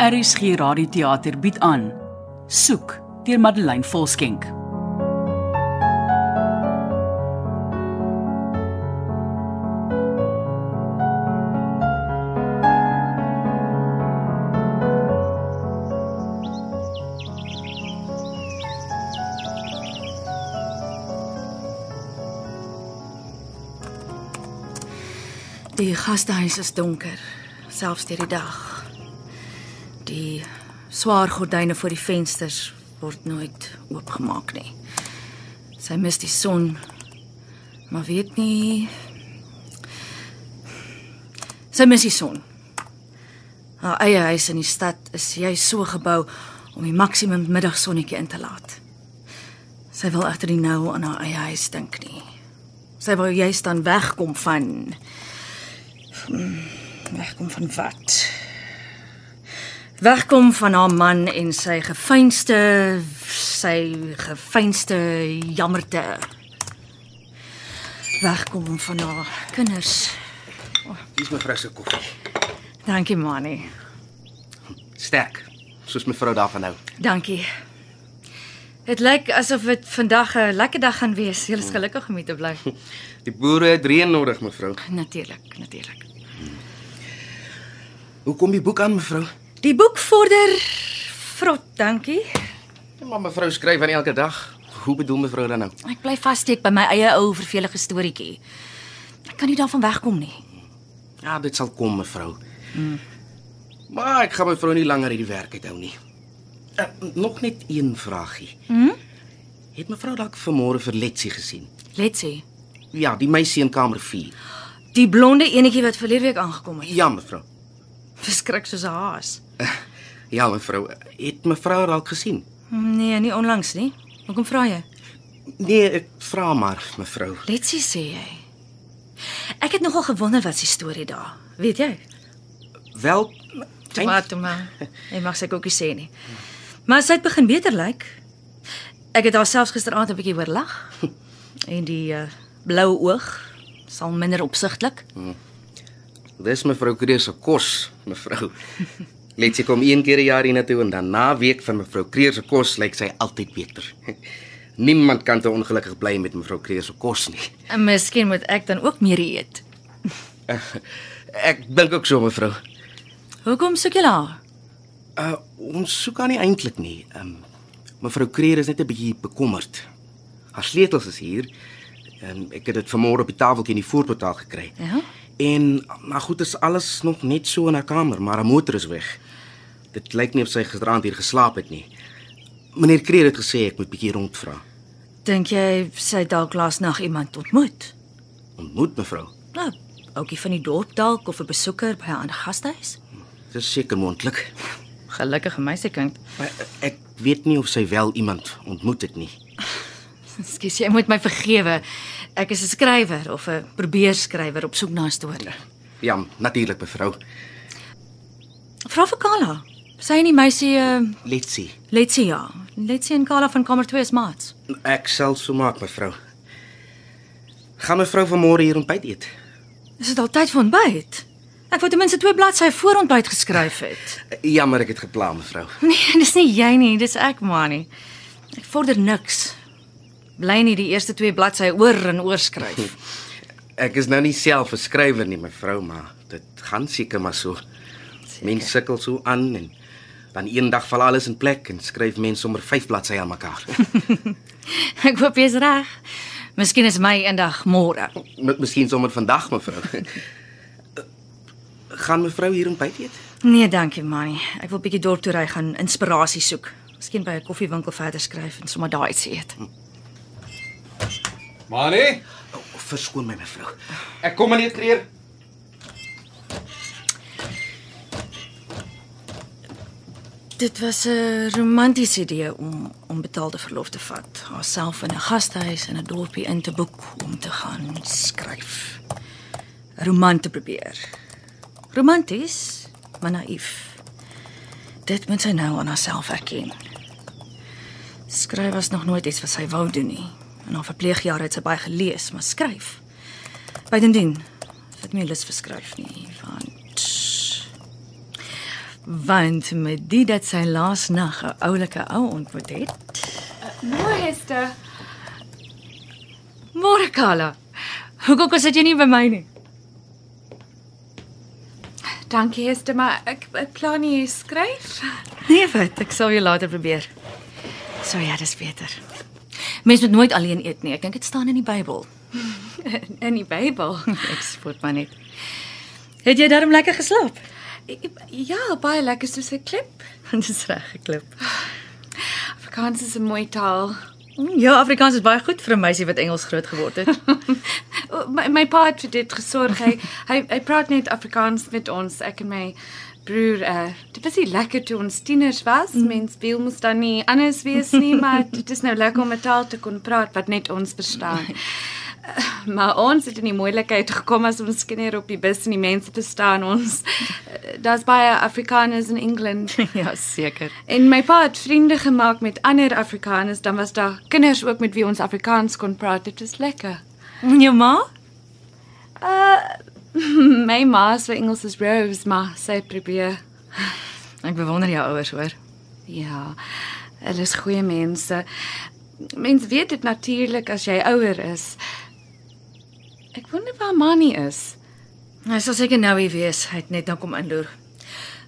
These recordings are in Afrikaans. RSG Radioteater bied aan Soek deur Madeleine Volskenk. Die gastehuis is donker, selfs deur die dag. Die swaar gordyne voor die vensters word nooit oopgemaak nie. Sy mis die son, maar weet nie Sy mis die son. Haar eie huis in die stad is jy so gebou om die maksimum middagsonnetjie in te laat. Sy wil egter nie nou aan haar eie huis dink nie. Sy wou juist dan wegkom van Wegkom van wat? Wegkom van haar man en sy gefeinste sy gefeinste jammerte. Wegkom van haar kinders. Dis mevrou se koffie. Dankie Mani. Sterk, soos mevrou daarvan hou. Dankie. Dit lyk asof dit vandag 'n lekker dag gaan wees. Jy is gelukkig om hier te bly. Die boere het reën nodig, mevrou. Natuurlik, natuurlik. Hoe kom die boek aan, mevrou? Die boek vorder vrot, dankie. Ja, maar mevrou skryf aan elke dag. Hoe bedoel mevrou dan nou? Ek bly vassteek by my eie ou vervelige storieetjie. Ek kan nie daarvan wegkom nie. Ja, dit sal kom, mevrou. Maar ek gaan mevrou nie langer hierdie werk uithou nie. Uh, nog net een vraagie. Hm? Het mevrou dalk vanmôre vir Letsie gesien? Let's sê, Ja, die meisie in kamer 4. die blonde enetjie wat verlede week aangekom het. Ja, mevrou. Verskrik soos 'n haas. Ja, mevrou. Het mevrou haar dalk gesien? Nee, nie onlangs nie. Hoekom vra jy? Nee, ek vra maar, mevrou. Let's sê sê jy. Ek het nogal gewonder wat se storie daar. Weet jy? Wel, Toe maar, toe maar. Jy mag sy kokkie sê nie. Maar sy het begin beter lyk. Ek het haar selfs gisteraand 'n bietjie hoor lag. En die uh, blou oog sal minder opsigtelik. Dis mevrou Kreer se kos, mevrou. Letsie kom een keer 'n jaar hiernatoe en dan na week van mevrou Kreer se kos lyk sy altyd beter. Niemand kan te ongelukkig bly met mevrou Kreer se kos nie. En miskien moet ek dan ook meer eet. Ek dink ook so mevrou. Hoekom soek jy haar? Uh ons soek haar nie eintlik nie. Um mevrou Kreer is net 'n bietjie bekommerd. Haar sleutels is hier. Um, ek het dit vanmôre op die tafeltjie in die voorportaal gekry. Ja? En maar goed is alles nog net so in haar kamer, maar haar motor is weg. Dit lyk nie of sy gisteraand hier geslaap het nie. Meneer Kreer het gesê ek moet bietjie rondvra. Dink jy sy het dalk laas nag iemand ontmoet? Ontmoet mevrou. Nou, ookie van die dorp dalk of 'n besoeker by haar gasthuis? Dit is seker moontlik. Gelukkige meisiekind. Maar ek weet nie of sy wel iemand ontmoet het nie. Ekskuus, jy moet my vergewe. Ek is 'n skrywer of 'n probeerskrywer op soek na 'n storie. Ja, natuurlik mevrou. Vra vir Kala. Sy en die meisie uh, Letsie. Letsie ja. Letsie en Kala van kamer 2 is maats. Ek sal so maak mevrou. Gaan mevrou vanmôre hier ontbyt eet? Is dit al tyd vir ontbyt? Ek wou ten minste twee bladsye voor ontbyt geskryf het. Jammer Ja, ek het gepla mevrou. Nee, dis nie jy nie, dis ek maar nie. Ek vorder niks. Bly nie die eerste twee bladsye oor en oorskryf. Ek is nou nie self 'n skrywer nie, mevrou, maar dit gaan seker maar so. Mense sukkel so aan en dan eendag val alles in plek en skryf mense sommer vyf bladsye aan mekaar. ek hoop jy's reg. Miskien is my eendag môre. M- Miskien sommer vandag, mevrou. gaan mevrou hier ontbyt eet? Nee, dankie manie. Ek wil bietjie dorp toe ry gaan inspirasie soek. Miskien by 'n koffiewinkel verder skryf en sommer daai iets eet. Manie, Oh, verskoon my mevrou. ek kom meneer Kreer. Dit was 'n romantiese idee om onbetaalde verlof te vat, haarself in 'n gasthuis in 'n dorpie in te boek om te gaan skryf. Roman te probeer. Romanties, maar naïef. Dit moet sy nou aan haarself erken. Skryf was nog nooit iets wat sy wou doen nie. In haar verpleegjare het sy baie gelees, maar skryf. Bydendien, sy het nie lus vir skryf nie, want Want met die dat sy laas nag 'n oulike ou ontmoet het. Môre Eh, Hester. Môre Kala. Hoekom kom sit jy nie by my nie? Dankie Hester, maar ek ek plan nie skryf. Nee, wat, ek sal jou later probeer. So ja, dis beter. Mens moet nooit alleen eet nie. Ek dink dit staan in die Bybel. In, in die Bybel. Ek spot maar net. Het jy darm lekker geslaap? Ek- Ja, baie lekker soos 'n klip. Dis reg geklop. Afrikaans is 'n mooi taal. Ja, Afrikaans is baie goed vir 'n meisie wat Engels groot geword het. O, My, my pa het vir dit gesorg. Hy, hy hy praat net Afrikaans met ons, ek en my broer. Uh, dit was nie lekker toe ons tieners was. Mm. Mens wil moes dan nie anders wees nie, maar dit is nou lekker om 'n taal te kon praat wat net ons verstaan. Eh, Maar ons het in die moeilikheid gekom as ons kinders op die bus en die mense verstaan ons. Eh, Daar's baie Afrikaners in Engeland. ja, seker. En my pa het vriende gemaak met ander Afrikaners, dan was daar kinders ook met wie ons Afrikaans kon praat. Dit was lekker. En Mm, jou ma? My ma se Engels is Rose, maar sy probeer. Ek bewonder jou ouers, hoor. Ja. Hulle is goeie mense. Mens weet dit natuurlik as jy ouer is. Ek wonder waar Manny is. Hy sal seker nou hier wees. Hy het net nou kom inloer.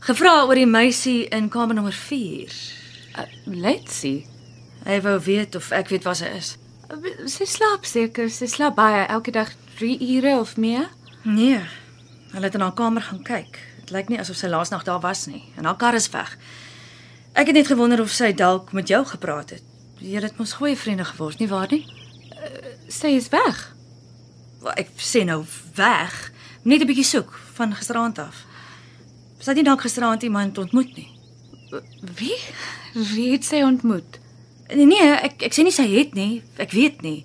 Gevra oor die meisie in kamer nommer 4. Uh, Letsie. Hy wou weet of ek weet waar sy is. Uh, Sy slaap seker. Sy slaap baie elke dag 3 ure of meer. Nee. Hulle het in haar kamer gaan kyk. Dit lyk nie asof sy laas nag daar was nie en haar kar is weg. Ek het net gewonder of sy dalk met jou gepraat het. Julle het mos goeie vriende geword, nie waar nie? Sy is weg. Wel, Ek sê nou weg. Net 'n bietjie soek van gisteraand af. Sy het nie dalk gisteraand iemand ontmoet nie. Wie? Wie het sy ontmoet? Nee, nee, ek ek sê nie sy het nie. Ek weet nie.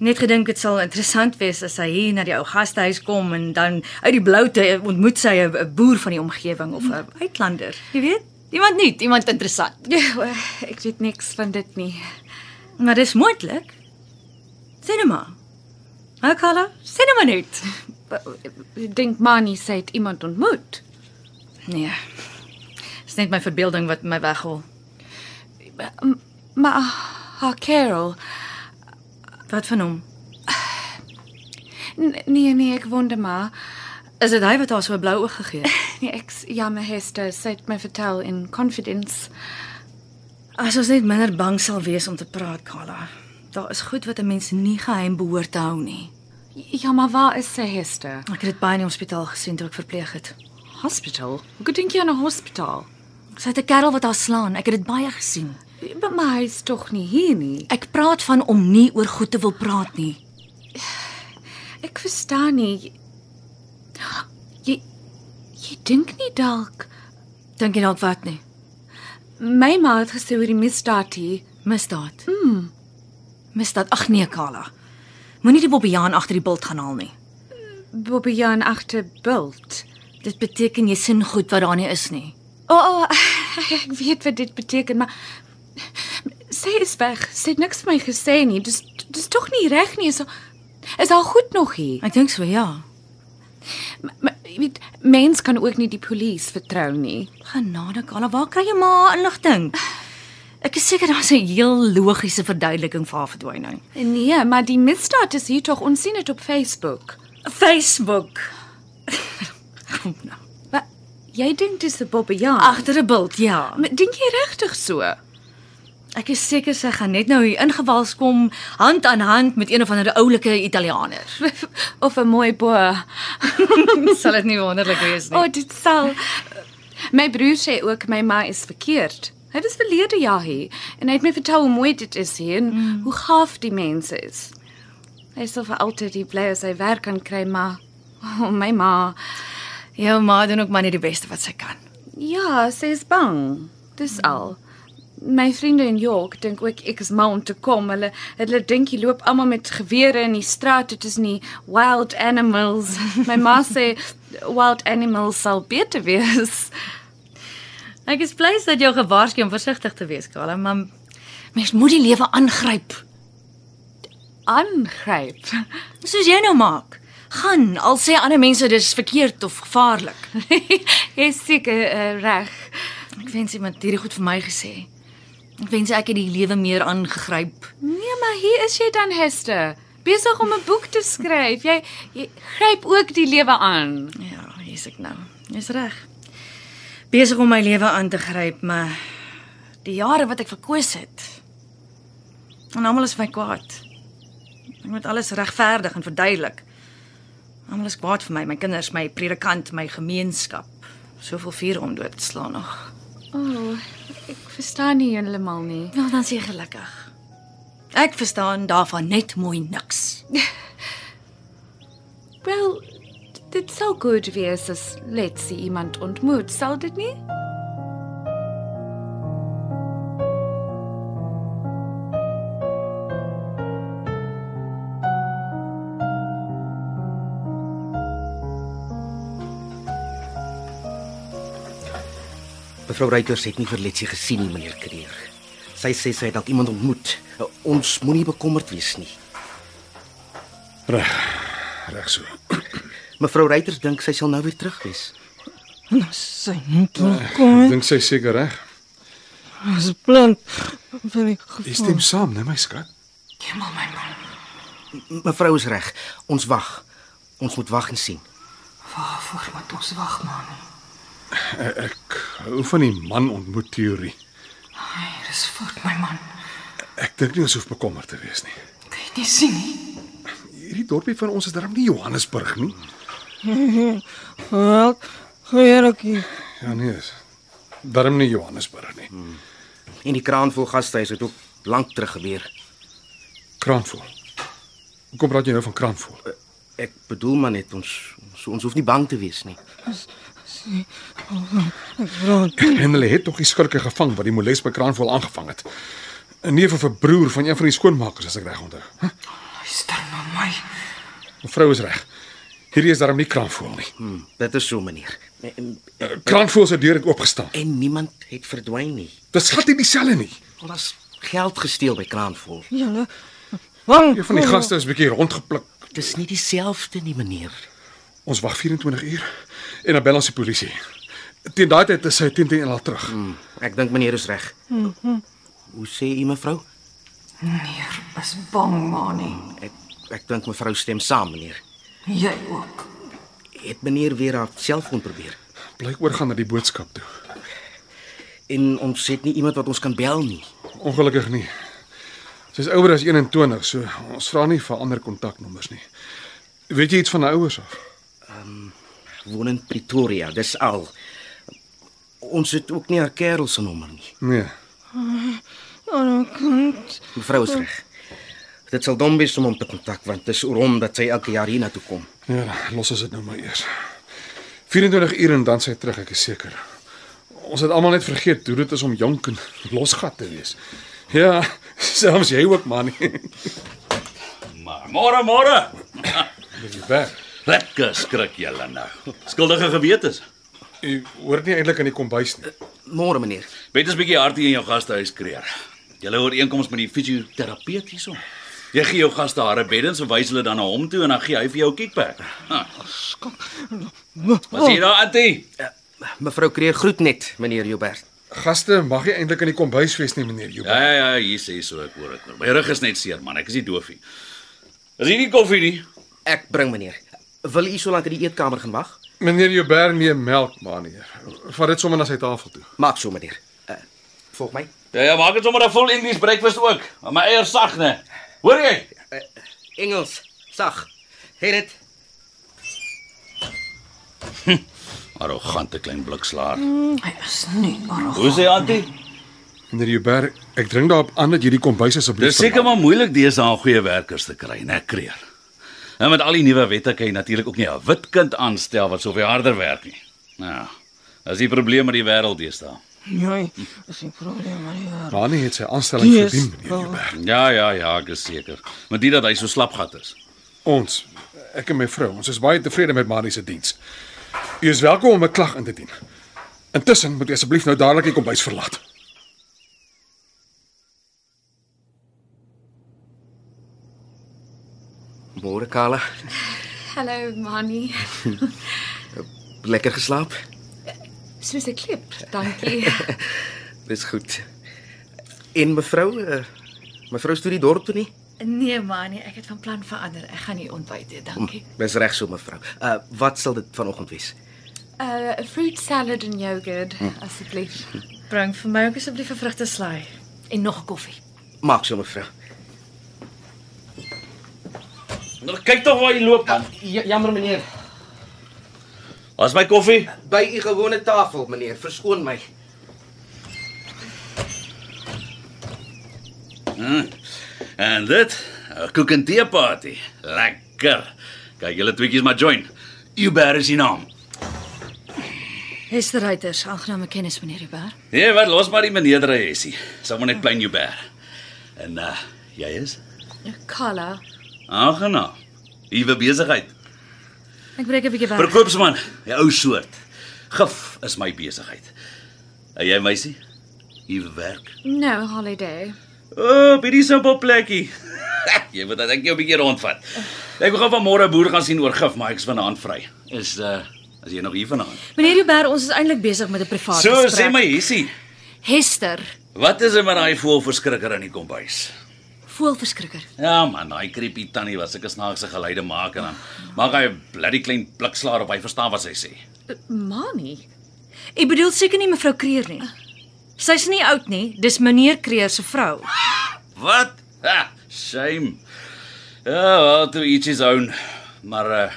Net gedink dit sal interessant wees as sy hier na die ou gastehuis kom en dan uit die bloute ontmoet sy 'n- 'n boer van die omgewing of 'n uitlander. Jy weet, iemand nuut, iemand interessant. Ja, eh, ek weet niks van dit nie. Maar dis moontlik. Sê nou maar. Hou Carla, sê nou maar net. Ek dink Manny sê het iemand ontmoet. Nee. Dis net my verbeelding wat my weghol. Maar ah, haar Carol. Wat van hom? N- Nee nee, ek wonder maar. Is dit hy wat haar so 'n blou oog gegee het? Nee, ek s- jammer Hester, sy het my vertel in confidence. As ons net minder bang sal wees om te praat, Carla. Daar is goed wat 'n mens nie geheim behoort te hou nie. Ja, maar waar is sy Hester? Ek het dit baie in die hospitaal gesien toe ek verpleeg het. Hospital. Hoe dink jy aan 'n hospitaal? Sy het 'n kerel wat haar slaan. Ek het dit baie gesien. Maar maar hy is tog nie hier nie. Ek praat van om nie oor goed te wil praat nie. Ek verstaan nie. Jy jy dink nie dalk Dink jy dalk wat nie? my ma het gesê oor die misdaad hier. Misdaad. Mm. Misdaad. Ag nee, Kala. Moenie die Bobbejaan agter die bult gaan haal nie. Bobby Jan agter bult. Dit beteken jy sin goed wat daar nie is nie. O, oh, oh, ek weet wat dit beteken, maar sy is weg. Sy het niks vir my gesê nie. Dis dis tog nie reg nie. Is al, is al goed nog hier. Ek dink so, ja. M- Maar jy weet, mens kan ook nie die polisie vertrou nie. Genade, Kala, waar kry jy maar inligting? Ek is seker daar's 'n heel logiese verduideliking vir haar nou. verdwyning. Nee, maar die misdaad is hier tog. Ons sien dit op Facebook. Facebook. Kom nou. Maar jy dink dis 'n bobbejaan. Agter 'n bult, ja. maar dink jy regtig so? Ek is seker sy gaan net nou hier ingewals kom hand aan hand met een of ander oulike Italianer. of 'n mooi boer. Sal dit nie wonderlik wees O, oh, dit sal. My broer sê ook my ma is verkeerd. Hy was verlede jaar hier en hy het my vertel hoe mooi dit is hier en mm. hoe gaaf die mense is. Hy sal vir altyd die bly as hy werk kan kry, maar oh, my ma, Jou ma doen ook maar net die beste wat sy kan. ja, sy is bang. Dis mm. al. My vriende in York dink ook ek is mal om te kom. Hulle hulle dink jy loop almal met gewere in die straat. Dit is nie wild animals. My ma sê wild animals sal beter wees. Ek is bly dat jou gewaarsku om versigtig te wees, Kala, maar mens moet die lewe aangryp, aangryp. soos jy nou maak. Gaan al sê ander mense dis verkeerd of gevaarlik. Jy is seker uh, reg. eh, Ek wens iemand het hierdie goed vir my gesê. Ek wens ek het die lewe meer aangegryp. Nee, maar hier is jy dan Hester, besig om 'n boek te skryf. Jy, jy gryp ook die lewe aan. Ja, hier's ek nou. Jy's reg. Besig om my lewe aan te gryp, maar die jare wat ek verkoos het. En almal is vir my kwaad. Ek moet alles regverdig en verduidelik. Almal is kwaad vir my, my kinders, my predikant, my gemeenskap. Soveel vuur om dood te slaan nog. O, oh, ek verstaan nie heeltemal nie. Nou, Wel dan seker gelukkig. Ek verstaan daarvan net mooi niks. Wel, dit sou goed wees as laat sy iemand ontmoet, sal dit nie? Mevrou Reuters het nie vir Letsie gesien nie, meneer Kreer. Sy sê sy het dalk iemand ontmoet. Nou, Ons moenie bekommerd wees nie. Reg. Reg so. Mevrou Reuters dink sy sal nou weer terug wees. Sy moet kom. Dink sy seker reg. Ons plan van die Jy stem saam, né my skat? Hemel Ja, my man. M- Mevrou is reg. Ons wag. Ons moet wag en sien. Waarvoor moet ons wag, man? Eh, Ek hou van die man ontmoet teorie. Ai, dis fout my man. Ek dink nie ons hoef bekommerd te wees nie. Kan jy dit nie sien nie? Hierdie dorpie van ons is darm nie Johannesburg nie. Wel, goeierkie. Ja nee, is darm nie Johannesburg nie. En die kraan vol gastehuis het ook lank terug gebeur. Kraanvoel. Hoekom praat jy nou van kraanvoel? Ek bedoel maar net ons ons, ons hoef nie bang te wees nie. Ek vra. En hulle het tog die skurke gevang wat die moles by kraanvoel aangevang het. 'n Neef of 'n broer van een van die skoonmakers as ek reg onthou. Huh? Luister na my. Mevrou is reg. Hierdie is darm nie kraanvoel nie. Hm, dit is so, meneer. En, Kraanvoel se deur het oopgestaan. en niemand het verdwyn nie. Dit skat nie dieselfde nie. Al was geld gesteel by Kraanvol. Julle. Wang. Een van Oh. die gaste is bietjie rondgepluk. Dis nie dieselfde nie, meneer. Ons wag 24 uur en dan bel ons die polisie. Teen daai tyd is hy teen teen al terug. Hm, ek dink meneer is reg. Hoe sê u mevrou? Hmm, Meneer is bang, manie. Ek ek dink mevrou stem saam, meneer. Jy ook. Het meneer weer haar selfoon probeer? Blyk oor gaan na die boodskap toe. En ons het nie iemand wat ons kan bel nie. Ongelukkig nie. Sy's ouer as 21, so ons vra nie vir ander kontaknommers nie. Weet jy iets van haar ouers af? Woon in Pretoria, dis al. Ons het ook nie haar kerel se nommer nie. Nee. Hallo kind. Mevrou is reg. Dit sal dom wees om hom te kontak want dit is oor hom dat sy elke jaar hiernatoe kom. Ja, los ons dit nou maar eers. 24 uur en dan sy terug, ek is seker. Ons het almal net vergeet hoe dit is om jonk en losgat te wees. Ja, selfs jy ook man. Dis Maar môre môre. weg. Lekker skrik julle nou. Skuldige gewetes. Jy hoor nie eintlik aan die kombuis nie. Môre meneer. Wet is bietjie hard hier in jou gastehuis kreer. Julle ooreenkoms met die fisioterapeut hierso. Jy gee jou gaste hare beddens en wys hulle dan na hom toe en dan gee hy vir jou 'n kickback. Ha, Wat sê jy daar, Antie? Mevrou Kreer groet net meneer Joubert. Gaste mag nie eintlik aan die kombuis wees nie, meneer Ja Jubber. ja ja, hier sê so ek hoor ek hoor. My rug is net seer man, ek is nie doof nie. Is hier nie koffie nie? Ek bring meneer. Wil u so lank in die eetkamer gaan wag? Ja. Meneer Jubber neem melk maar nie. Vat dit sommer na sy tafel toe. Maak so meneer. Uh, volg my. Ja ja, maak dit sommer 'n full English breakfast ook. Maar my eiers sag, né? Hoor jy? Engels, sag. Het dit. Arrogante klein blikslaer. Mm, Hy is nie arrogant. Hoe sê Antie? Meneer Jubber, ek dring daarop aan dat jy die kombuis asseblief Dis seker maar moeilik deesdae om goeie werkers te kry, né, Kreer. En met al die nuwe wette kan jy natuurlik ook nie 'n wit kind aanstel wat soveel harder werk nie. Nou, dis die probleem met die wêreld deesdae. Jy is die probleem, meneer. Manie het sy aanstelling Yes. verdien, meneer Jubber. Ja, ja, ja, ek is seker. Maar dit dat hy so slapgat is. Ons, ek en my vrou, ons is baie tevrede met Manie se diens. U is welkom om 'n klag in te dien. Intussen moet u asseblief nou dadelik die kombuis verlaat. Môre Kala. Hallo, Mani. Lekker geslaap? Soos 'n klip, dankie. Dis goed. En mevrou, eh, mevrou stuur die dorp toe nie? Nee man, nee, ek het van plan verander. Ek gaan nie ontbyt hê, dankie. Dis reg so mevrou. Uh wat sal dit vanoggend wees? 'n Eh, Fruit salad en yogurt asseblief. Bring vir my ook asseblief 'n vrugteslaai en nog 'n koffie. Maak so mevrou. Nou kyk tog waar jy loop man. Ja, Jammer meneer. Waar's my koffie? By u gewone tafel meneer, verskoon my. En dit, 'n koek en tee party. Lekker. Kyk, julle tweetjies maar join. Uber is die naam. Hester Reuters, aangename kennis meneer Huber. Nee, wat los maar die meneer dry hessie. Sommige net plain Uber. En uh jy is Ja, Carla, aangenaam. Uwe besigheid. Ek breek 'n bietjie weg. Verkoopsman, die ou soort. Gif is my besigheid. En jy meisie, uwe werk. no holiday. O, oh, hierdie sopo plekkie. jy moet dit ek jou 'n bietjie rondvat. Ek wil gou vanmôre 'n boer gaan sien oor gif, maar ek's vanaand vry. Is uh as jy nog hier vanaand. Meneer Huber, ons is eintlik besig met 'n privaat So gesprek. sê my Hessie, Hester, wat is dit met daai voël verskrikker in die kombuis? voelverskrikker. Ja man, daai creepy tannie was ek 'n snaakse geluide maak en dan maak hy 'n bloody klein blikslaar op hy verstaan wat sy sê. Mami, Ek bedoel seker nie mevrou Kreer nee. nie. Sy's nie oud nie, dis meneer Kreer se vrou. Wat? Ha, shame. Ja, well, to each his own. Maar uh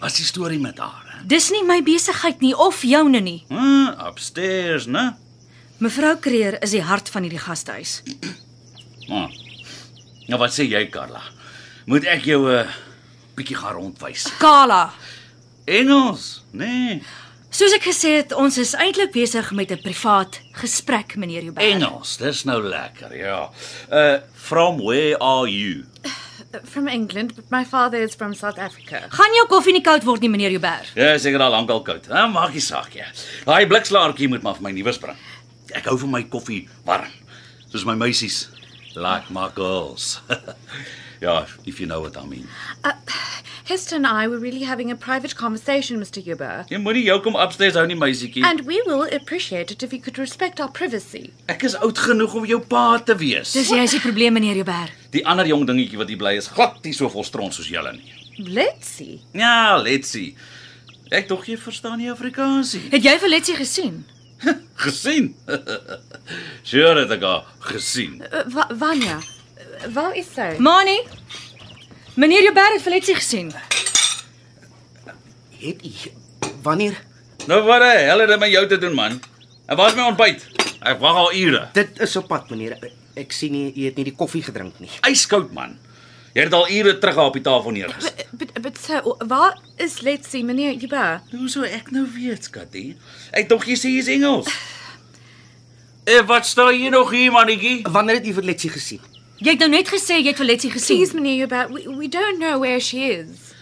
wat is die storie met haar? hè? Dis nie my besigheid nie nee, of joune nie. Hm, upstairs, né? Mevrou Kreer is die hart van hierdie gastehuis. Hm. Nou wat sê jy, Karla? Moet ek jou 'n uh, bietjie gaan rondwys? Kala. Engels? Nee, Soos ek gesê het, ons is eintlik besig met 'n privaat gesprek, meneer Huber. Engels. Dis nou lekker, ja. Uh from where are you? Uh, from England, but my father is from South Africa. Gaan jou koffie nie koud word nie, meneer Huber. Ja, seker al lankal koud. Hè, maak nie saak nie. Daai blikslaartjie moet maar vir my nuwe spring. Ek hou van my koffie warm, soos my meisies. Like my girls. ja, if you know what I mean. Uh, Hester and I were really having a private conversation, Mr. Huber. Jy moenie jou kom upstairs hou nie, Mm. meisietjie. And we will appreciate it if you could respect our privacy. Ek is oud genoeg om jou pa te wees. Dis jy is die probleem, meneer Huber. Die ander jong dingetjie wat hier bly is glad nie so vol stront soos julle nie. Let's see. Ja, let's see. Ek dog jy verstaan nie Afrikaansie. Het jy vir Letsie gesien? Gesien? sure het ek haar gesien. Uh, wa Vanya, uh, waar is sy? Mani. Meneer Huber het vir Letsie gesien. Uh, Het u wanneer Nou wat die hel het dit met jou te doen man? En waar's my ontbyt? Ek wag al ure. dit is op pad meneer. Ek sien nie u het nie die koffie gedrink nie. Yskoud man. Jy het al ure terug daar op die tafel neergesit. But, but, but sir, waar is Let's see, meneer Huber? Hoe sou ek nou weet, Katie? Ek dink jy sê jy's Engels. Eh wat staan jy nog hier mannetjie? Wanneer het u vir Letsie gesien? Jy het nou net gesê jy het vir Letsie gesien. Please, meneer Huber, we, we don't know where she is.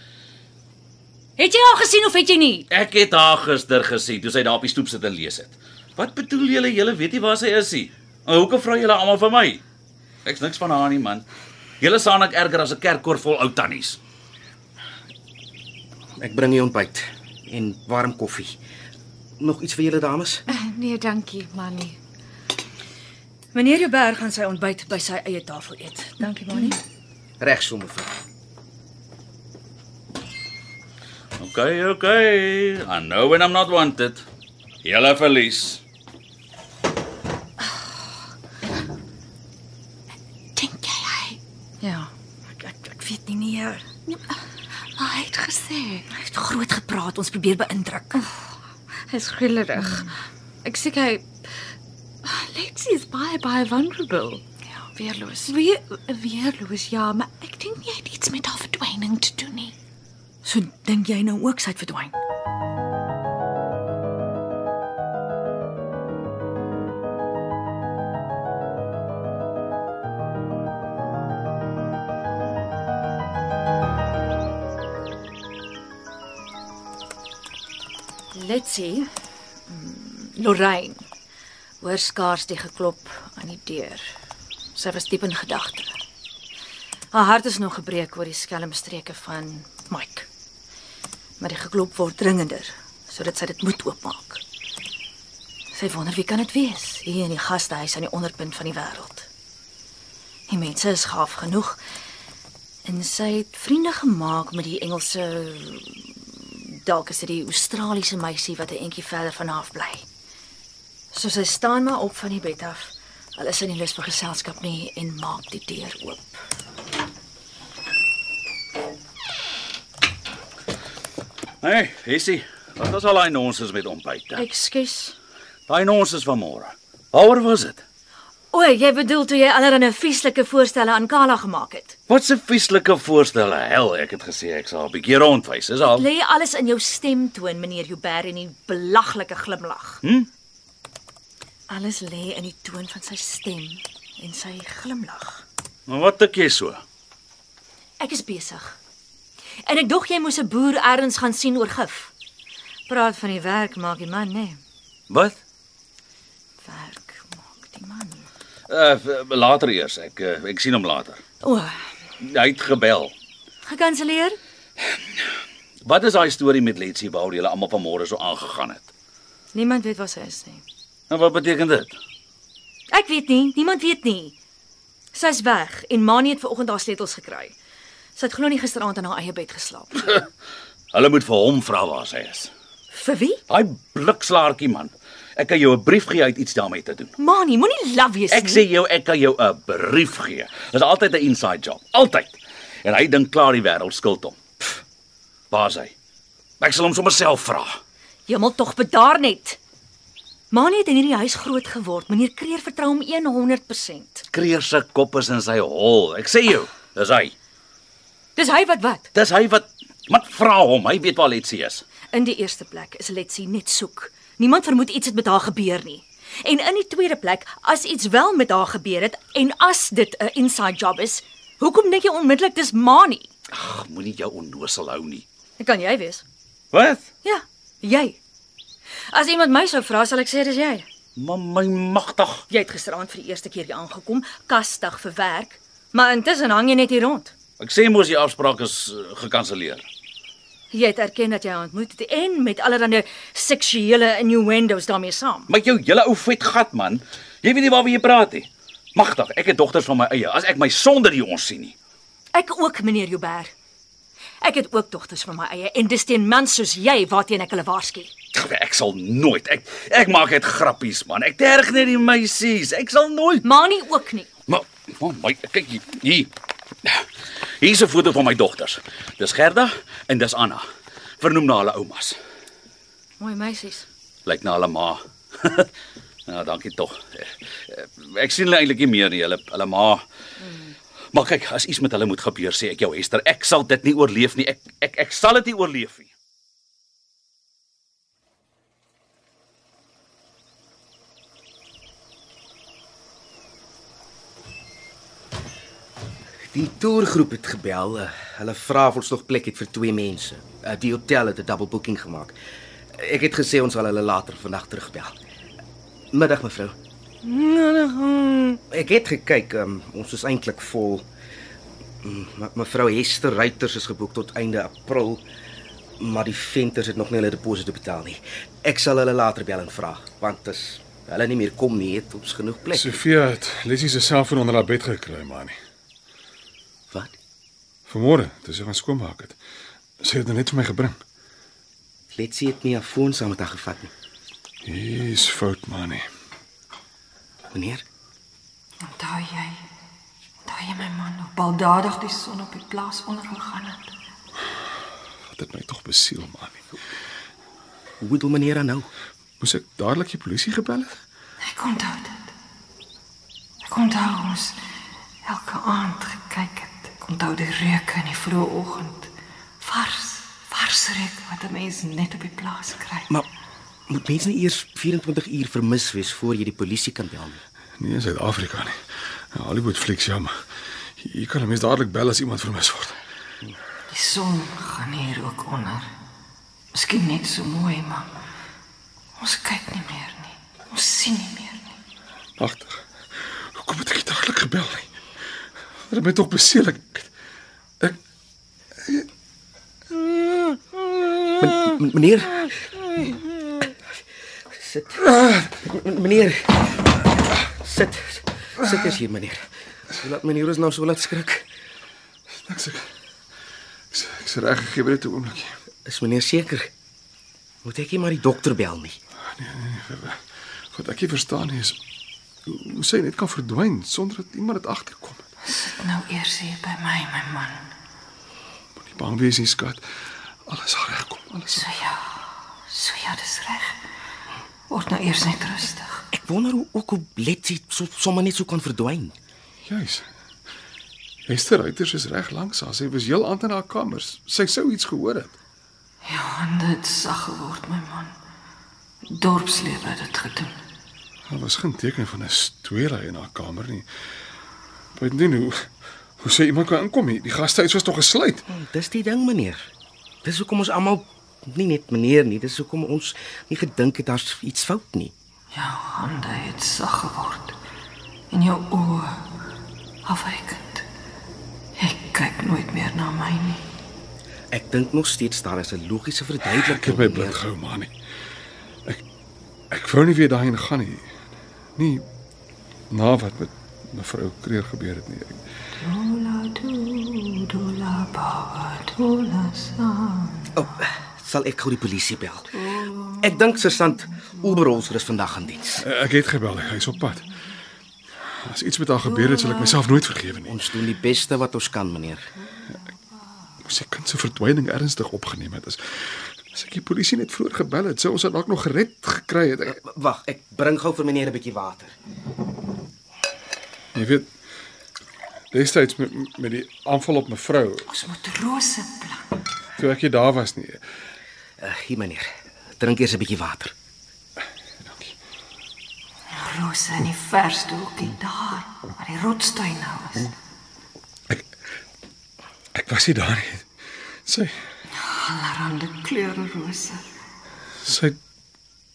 Het jy haar gesien of het jy nie? Ek het haar gister gesien toe sy daar op die stoep sit en lees het. Wat bedoel julle? Julle weet nie waar sy is nie. En hoekom vra julle almal vir my? Ek's niks van haar nie man. Julle staan ek erger as 'n kerkkoor vol ou tannies. Ek bring u ontbyt en warm koffie. Nog iets vir julle dames? Nee, dankie, Manny. Meneer Huber gaan sy ontbyt by sy eie tafel eet. Dankie, Mani. Reg so mevrou. Okay, okay. I know when I'm not wanted. Julle verlies. Dink jy hy? Ja. Ek, ek, ek weet nie meer. Nee, Maar hy het gesê, Oh. Hy het groot gepraat, ons probeer beïndruk. hy's grillerig. Hmm. Ek sê hy Lexie is baie baie vulnerable. Ja, weerloos. Weer weerloos ja, maar ek dink nie hy het iets met haar verdwyning te doen nie. So dink jy nou ook sy het verdwyn? Letsie. Hmm, Lorraine hoor skaars die geklop aan die deur. Sy was diep in gedagte. Haar hart is nog gebreek oor die skelm streke van Mike. Maar die geklop word dringender sodat sy dit moet oopmaak. Sy wonder wie kan dit wees hier in die gastehuis aan die onderpunt van die wêreld. Die mense is gaaf genoeg en sy het vriende gemaak met die Engelse dalk is dit die Australiese meisie wat 'n entjie verder van haar af bly. So sy staan maar op van die bed af. Hulle is in die lus vir geselskap nie en maak die deur oop. Hey, Hessie, wat was al daai nonsens met ontbyt? Ekskuus. Daai nonsens van môre. Waaroor was dit? O, jy bedoel toe jy allerlei vieslike voorstelle aan Kala gemaak het. Wat 'n vieslike voorstel. Hel, ek het gesê ek sal 'n bietjie rondwys, is al. Lê alles in jou stemtoon, meneer Joubert en die belaglike glimlag. Hm? Alles lê in die toon van sy stem en sy glimlag. Maar wat dink jy so? Ek is besig. En ek dog jy moes 'n boer ergens gaan sien oor gif. Praat van die werk maak die man, né? Nee. Wat? Werk maak die man. Uh v- later eers. Ek uh, ek sien hom later. O, Hy het gebel. gekanselleer? Wat is daai storie met Letsie waaroor julle almal vanmôre so aangegaan het? Niemand weet waar sy is nie. En wat beteken dit? Ek weet nie, niemand weet nie. Sy's weg en Manie het vanoggend haar sleutels gekry. Sy het glo nie gisteraand in haar eie bed geslaap. nie. Hulle moet vir hom vra waar sy is. Vir wie? Daai blikslaartjie man. Ek kan jou 'n brief gee uit iets daarmee te doen. Manie, moenie laf wees Ek sê jou ek kan jou 'n brief gee. Dit is altyd 'n inside job, altyd. En hy dink klaar die wêreld skuld hom. Pff, Waar is hy? Ek sal hom sommer self vra. Hemel tog bedaar net. Manie het in hierdie huis groot geword. Meneer Kreer vertrou hom 100%. Kreer se kop is in sy hol. Ek sê jou, dis hy. Dis hy wat wat. Dis hy wat wat vra hom. Hy weet waar Letsie is. In die eerste plek is Letsie net soek. Niemand vermoed iets het met haar gebeur nie. En in die tweede plek, as iets wel met haar gebeur het en as dit 'n inside job is, hoekom dink jy onmiddellik dis Manie? Ag, moenie jou onnosel hou nie. Dit kan jy wees. Wat? Ja, jy. As iemand my sou vra, sal ek sê dis jy. Man my magtig. Jy het gisteraand vir die eerste keer hier aangekom, kastig vir werk, maar intussen hang jy net hier rond. Ek sê mos die afspraak is eh, gekanselleer. Jy het erken dat jy haar ontmoet het en met allerlei seksuele innuendos daarmee saam. Met jou hele ou vet gat man. Jy weet nie waaroor jy praat nie. Magtig, ek het dogters van my eie. As ek my sonder die ons sien nie. Ek ook, meneer Joubert. Ek het ook dogters van my eie en dis teen mans soos jy waarteen ek hulle waarsku. Ag, Ek sal nooit. Ek ek maak net grappies man. Ek terg net die meisies. Ek sal nooit. Manie ook nie. Maar man, my kyk hier. Hier. Hier is 'n foto van my dogters. Dis Gerda en dis Anna. Vernoem na hulle oumas. Mooi meisies. Lyk na hulle ma. nou, dankie tog. Ek sien hulle eintlik nie meer nie, hulle hulle ma. Maar kyk, as iets met hulle moet gebeur, sê ek jou Hester, ek sal dit nie oorleef nie. Ek ek ek sal dit nie oorleef nie. Die toergroep het gebel. eh, Hulle vra of ons nog plek het vir twee mense. Eh, Die hotel het 'n double booking gemaak. Ek het gesê ons sal hulle later vandag terugbel. Middag mevrou. Ek het gekyk, um, ons is eintlik vol. Mm, me- Mevrou Hester Reuters is geboek tot einde April, maar die venters het nog nie hulle deposito betaal nie. Ek sal hulle later bel en vra, want as hulle nie meer kom nie, het ons genoeg plek. Sofia het Leslie se selfoon onder haar bed gekry, Mani. Wat? Vanmôre, toe sy gaan skoonmaak het. Sy het dit net vir my gebring. Letsie het my foon saam met haar gevat nie. Hier's fout, Mani. Meneer? Onthou Nou, jy? Onthou jy my man hoe baldadig die son op die plaas ondergegaan het? Wat het my tog besiel, Mani. Hoe bedoel meneer dan nou? Moes ek dadelik die polisie gebel het? Ek onthou dit. Ek onthou ons elke aand gekyk het. Ek onthou die reuke in die vroeë oggend. Vars, vars reuk wat 'n mens net op die plaas kry. Maar moet mens nie eers 24 uur vermis wees voor jy die polisie kan bel nie. Nee, in Suid-Afrika nie. Ja, Hollywood flieks ja, maar jy kan 'n mens dadelik bel as iemand vermis word. Die son gaan hier ook onder. Miskien net so mooi, maar ons kyk nie meer nie. Ons sien nie meer nie. Agter. Hoekom het ek nie dadelik gebel nie? Wat het my tog besiel ek ek Men, men, meneer, Sit. M- Meneer. Sit. Sit eens hier, meneer. Laat meneer ons nou so laat skrik. Niks ek. Ek's ek's reg gegee by dit 'n oomblikie. Is meneer seker? Moet ek nie maar die dokter bel nie. Goed, ek jy verstaan nie is hoe hoe sy net kan verdwyn sonder dat iemand dit agterkom. Sit nou eers hier by my, my man. Moenie bang wees nie, skat. Alles sal regkom. Alles sal. So ja. So ja, dis reg. Word nou eers net rustig. Ek wonder hoe ook hoe Letsie so, sommer net so kan verdwyn. Juis. Hester Ruiters is reg langs haar. Sy was heel aand in haar kamer. Sy sou iets gehoor het. Ja, en dit sag geword, my man. Dorpslewe het dit gedoen. Daar was geen teken van 'n storie in haar kamer nie. Buitendien hoe hoe sê iemand kan inkom hier? Die gastehuis was nog gesluit. Dis die ding, meneer. Dis hoekom ons almal nie net meneer nie, dis hoekom ons nie gedink het daar's iets fout nie. Jou Ja, hande het sag geword. En jou oë afwykend. Ek kyk nooit meer na my nie. Ek dink nog steeds daar is 'n logiese Ek het verduideliking. my meneer. blik gehou, Mani. Ek ek wou nie weer daarheen gaan nie. Nie na wat met mevrou Kreer gebeur het nie. Ek, Dola do, dola baba, dola san. Oh, sal ek gou die polisie bel. Ek dink sergeant Oberholzer is vandag aan diens. ek het gebel, hy's op pad. As iets met haar gebeur het, sal ek myself nooit vergewe nie. Ons doen die beste wat ons kan, meneer. Ons se kind se verdwyning ernstig opgeneem het. As, as ek die polisie net vroeër gebel het, sou ons dit dalk nog gered gekry het. Ek, W- Wag, ek bring gou vir meneer 'n bietjie water. jy weet destyds met met die aanval op mevrou, Ons moet rose plant. toe ek nie daar was nie. Uh, hier meneer. Drink eers 'n bietjie water. Dankie. Rose in die verste hoekie daar, waar die rotstuin nou is. Ek ek was nie daar nie. Sy Allerhande kleure rose. Sy het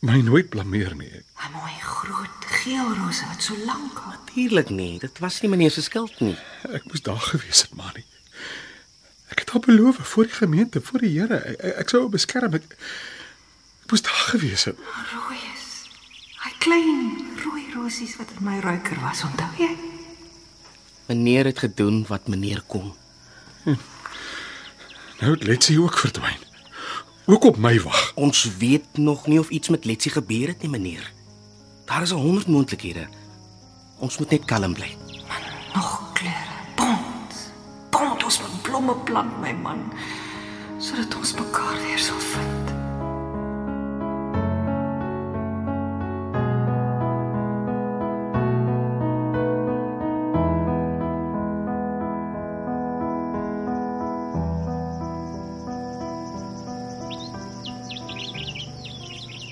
my nooit blameer nie. 'n Mooi groot geel rose wat so lank al. Natuurlik nie. Dit was nie meneer se skuld nie. Ek moes daar gewees het, maar nie. Ek het haar beloof voor die gemeente, voor die Here, ek, ek- ek sou haar beskerm. Ek, ek moes daar gewees het. Rooi is. Hy klein rooi rosies wat in my ruiker was, onthou jy? Meneer het gedoen wat meneer kon. Nou het Letsie ook verdwyn. Ook op my wag. Ons weet nog nie of iets met Letsie gebeur het nie, meneer. Daar is 100 moontlikhede. Ons moet net kalm bly. Nog kleure. Bond. Bond ons met blomme plant, my man, sodat ons mekaar weer sal vind.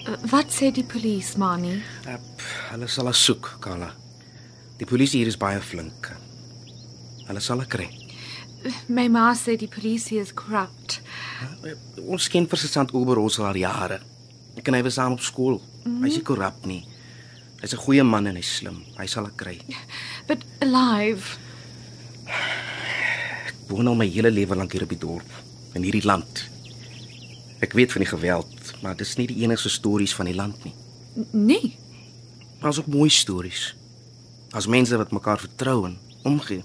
Eh, Wat sê die polisie, Mani? Uh, pff, hulle sal haar soek, Kala. Die polisie hier is baie flink. Hulle sal haar kry. My ma sê die polisie is corrupt. Uh, Ons ken vir Sint Oberholz al jare. Ek en hy was saam op skool. Mm. Hy's nie korrup nie. Hy's 'n goeie man en hy's slim. Hy sal haar kry. But alive. woon al my hele lewe lank hier op die dorp in hierdie land. Ek weet van die geweld, maar dis nie die enigste stories van die land nie. N- Nee. Daar's ook mooi stories. Daar's mense wat mekaar vertrou en omgee.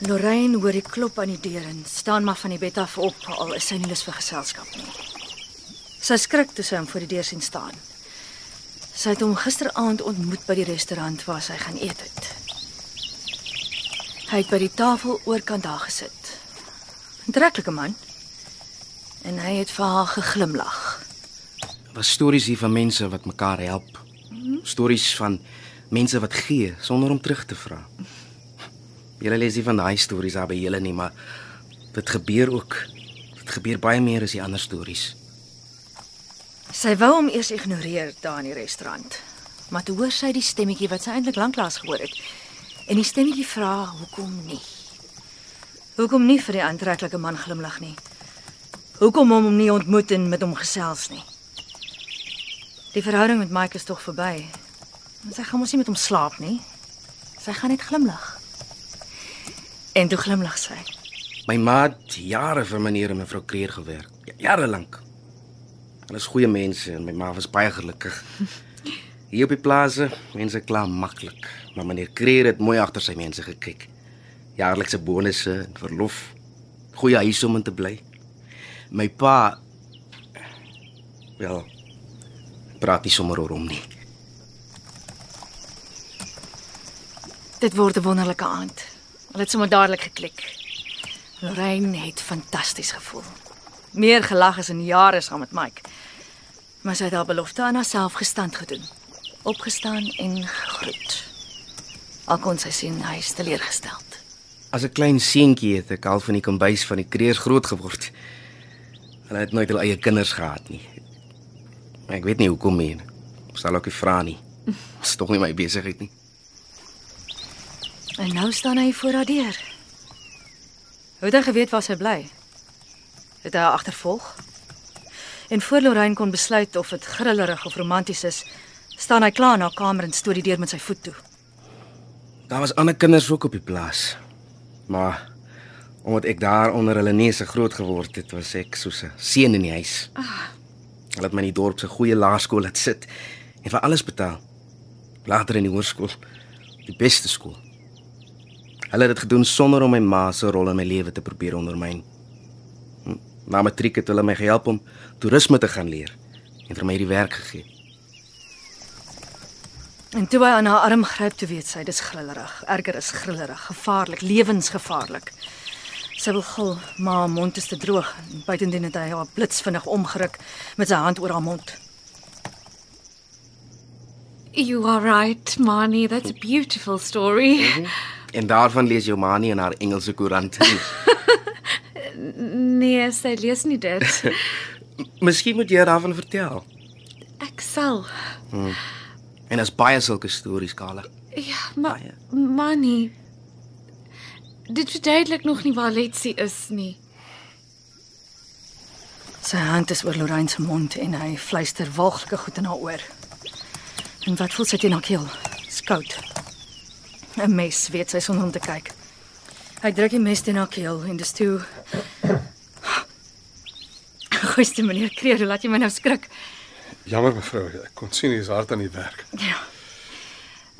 Lorraine hoor die klop aan die deur en staan maar van die bed af op al is sy nie lus vir geselskap nie. Sy skrik toe sy hom voor die deur sien staan. Sy het hom gisteraand ontmoet by die restaurant waar sy gaan eet het. Hy het by die tafel oorkant daar gesit. 'n Treklike man. En hy het vir haar geglimlag. Daar's stories hier van mense wat mekaar help. Stories van mense wat gee sonder om terug te vra. Julle lees nie van daai stories daar by julle nie, maar dit gebeur ook. Dit gebeur baie meer as die ander stories. Sy wou hom eers ignoreer daar in die restaurant. Maar toe hoor sy die stemmetjie wat sy eintlik lanklaas gehoor het. En die stemmetjie vra hoekom nie. Hoekom nie vir die aantreklike man glimlag nie. Hoekom hom hom nie ontmoet en met hom gesels nie. Die verhouding met Mike is tog verby. En sy gaan mos nie met hom slaap nie. Sy gaan net glimlag. En toe glimlag sy. My ma het jare vir meneer en mevrou Kreer gewerk. Ja- Jare lank. Hulle is goeie mense en my ma was baie gelukkig. Hier op die plase, mense kla maklik, maar meneer Kreer het mooi agter sy mense gekyk. Jaarlikse bonusse en verlof. Goeie huis om in te bly. My pa wel praat nie sommer oor hom nie. Dit word 'n wonderlike aand. Hulle het sommer dadelik geklik. Lorraine het fantasties gevoel. Meer gelag as in jare saam met Mike. Maar sy het haar belofte aan haarself gestand gedoen. Opgestaan en gegroet. Al kon sy sien hy is teleurgesteld. As 'n klein seentjie het ek al van die kombuis van die kreers groot geword. Hulle het nooit hulle eie kinders gehad nie. Maar ek weet nie hoekom nie. Ek Sal ook nie vra nie. Dit is tog nie my besigheid nie. En nou staan hy voor haar deur. Hoe het hy geweet waar sy bly? Het hy haar agtervolg? En voor Lorraine kon besluit of dit grillerig of romanties is, staan hy klaar in haar kamer en stoot die deur met sy voet toe. Daar was ander kinders ook op die plaas. Maar omdat ek daar onder hulle neuse groot geword het, was ek soos 'n seun in die huis. Hulle het my in die dorp se goeie laerskool laat sit en vir alles betaal. Later in die hoërskool, die beste skool. Hulle het dit gedoen sonder om my ma se rol in my lewe te probeer ondermyn. Hm, Na matriek het hulle my gehelp om toerisme te gaan leer en vir my hierdie werk gegee. En toe hy aan haar arm gryp, toe weet sy dis grillerig. Erger is grillerig, gevaarlik, lewensgevaarlik. Sy wil gil, maar haar mond is te droog. en Buitendien het hy haar blitsvinnig omgeruk met sy hand oor haar mond. You are right, Marnie. That's a beautiful story. Mhm. En daarvan lees jou ma nie in haar Engelse koerant nie. Nee, sy lees nie dit. Miskien moet jy daarvan vertel. Ek sal. En daar's baie sulke stories, Kala. Ja, maar Marnie. Dit verduidelik nog nie waar Letsie is nie. Sy hand is oor Lorraine se mond en hy fluister walglike goed in haar oor. En wat voel sy teen haar keel? Skout. 'n Mes weet sy sonder om te kyk. Hy druk die mes teen haar keel en dis toe Goeie meneer Kreer, hoe laat jy my nou skrik. Jammer mevrou, ek kon sien jy's hard aan die werk.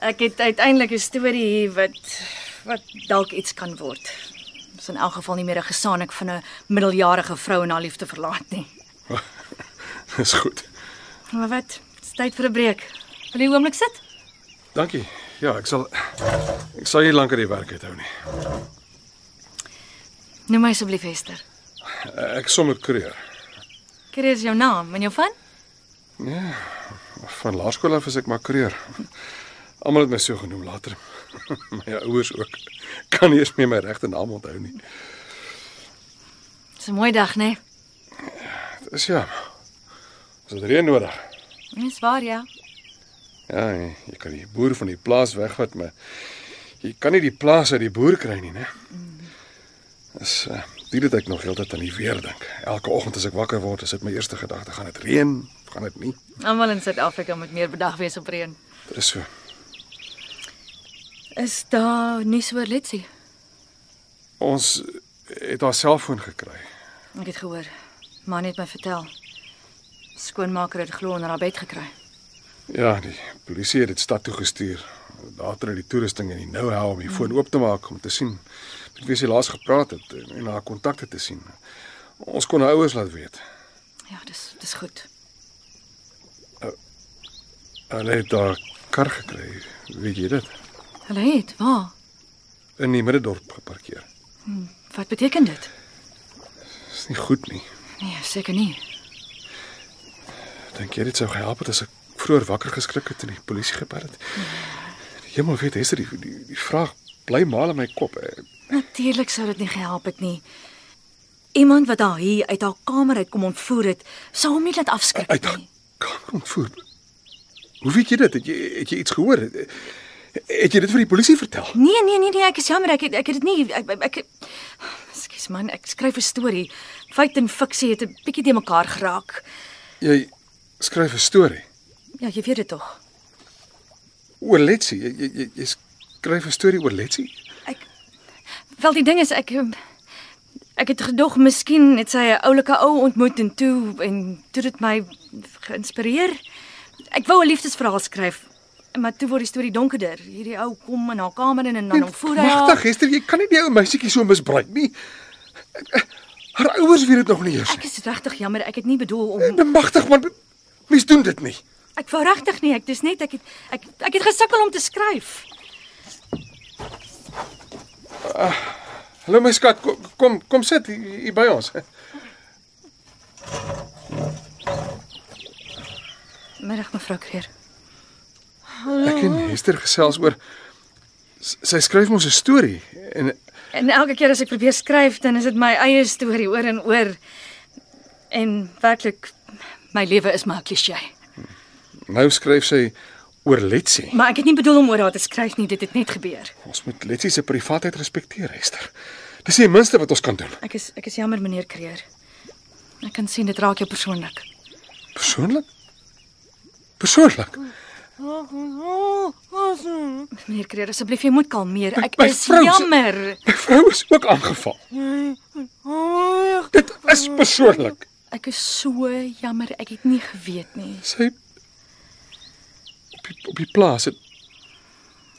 Ek het uiteindelik 'n storie wat wat dalk iets kan word. Dis in elk geval nie meer 'n gesaanik van 'n middeljarige vrou en haar liefde verlaat nie. Dis goed. Maar wat? Dis tyd vir 'n breek. Wil jy 'n oomblik sit? Dankie. Ja, ek sal ek sal nie lank aan die werk uithou nie. Noem my asseblief Hester. Ek sommer kreer. Kreer is jou naam en jou van? Van laerskool af is ek maar kreer. Almal het my so genoem later. My ouers ook. Kan nie eens meer my regte naam onthou nie. Dis 'n mooi dag, né? Nee? Dit is ja. Ons het reën nodig. Dis waar, ja. Ja, jy- jy kan die boer van die plaas wegvat, maar jy kan nie die plaas uit die boer kry nie, né? Dis uh, dit het ek nog heeltyd aan die weer dink. Elke oggend as ek wakker word, is dit my eerste gedagte, gaan dit reën of gaan dit nie? Almal in Suid-Afrika moet meer bedag wees op reën. Dit is so. Is daar nuus oor Letsie? Ons het haar selfoon gekry. Ek het gehoor. Maar net my vertel. Skoonmaker het glo onder haar bed gekry. Ja, die polisie het dit stad toe gestuur. Later het die toerusting in die nou help om die foon oop te maak om te sien met wie sy laas gepraat het en- en haar kontakte te sien. Ons kon haar ouers laat weet. Ja, dis dis goed. Hulle het haar kar gekry. Weet jy dit? Hulle het, waar? in die middedorp geparkeer. Wat beteken dit? Dis nie goed nie. Nee, seker nie. Dink jy dit sou gehelp het as ek vroeër wakker geskrik het en die polisie gebel het? Die Hemel weet Esther, die, die, die vraag bly maar in my kop. Eh, Natuurlik sou dit nie gehelp het nie. Iemand wat haar hier uit haar kamer uitkom ontvoer het, sou hom nie laat afskrik Uit het haar nie. kamer ontvoer. Hoe weet jy dit? Het jy het jy iets gehoor? Eh, Het jy dit vir die polisie vertel? Nee, nee, nee, nee, ek is jammer, ek het, ek het dit nie ek ek, ek Ekskuus man, ek skryf 'n storie. Feit en fiksie het 'n bietjie te mekaar geraak. Jy skryf 'n storie Ja, jy weet dit tog. oor Letsie. Jy, jy, jy- jy skryf 'n storie oor Letsie? Ek Wel die ding is ek ehm, Ek het gedog miskien het sy 'n oulike ou ontmoet en toe en toe dit my geïnspireer. Ek wou 'n liefdesverhaal skryf, maar toe word die storie donkerder. Hierdie ou kom in haar kamer in en dan ontvoer hy haar. Magtig, Hester, jy kan nie die ou meisietjie so misbruik nie. Haar ouers weet dit nog nie eers. Ek is regtig jammer, Ja, ek het nie bedoel om nie. Magtig, man. Mens doen dit nie. Ek wou regtig nie, ek dis net ek het ek ek het gesukkel om te skryf. Hallo my skat, kom kom, kom sit hier hier by ons. Middag mevrou Kreer. Ek en Hester gesels oor s- sy skryf mos 'n storie en En elke keer as ek probeer skryf, dan is dit my eie storie oor en oor. En werklik my lewe is maar 'n klise. nou skryf sy oor Letsie. Maar ek het nie bedoel om oor haar te skryf nie, dit het net gebeur. Ons moet Letsie se privaatheid respekteer, Hester. Dis die minste wat ons kan doen. Ek is ek is jammer meneer Kreer. Ek kan sien dit raak jou persoonlik. Persoonlik? Persoonlik. Meneer Kreer, asseblief jy moet kalmeer. Ek My is vrou se- jammer. My vrou is ook aangeval. Dit is persoonlik. Ek is so jammer. Ek het nie geweet nie. Sy op die, op die plaas het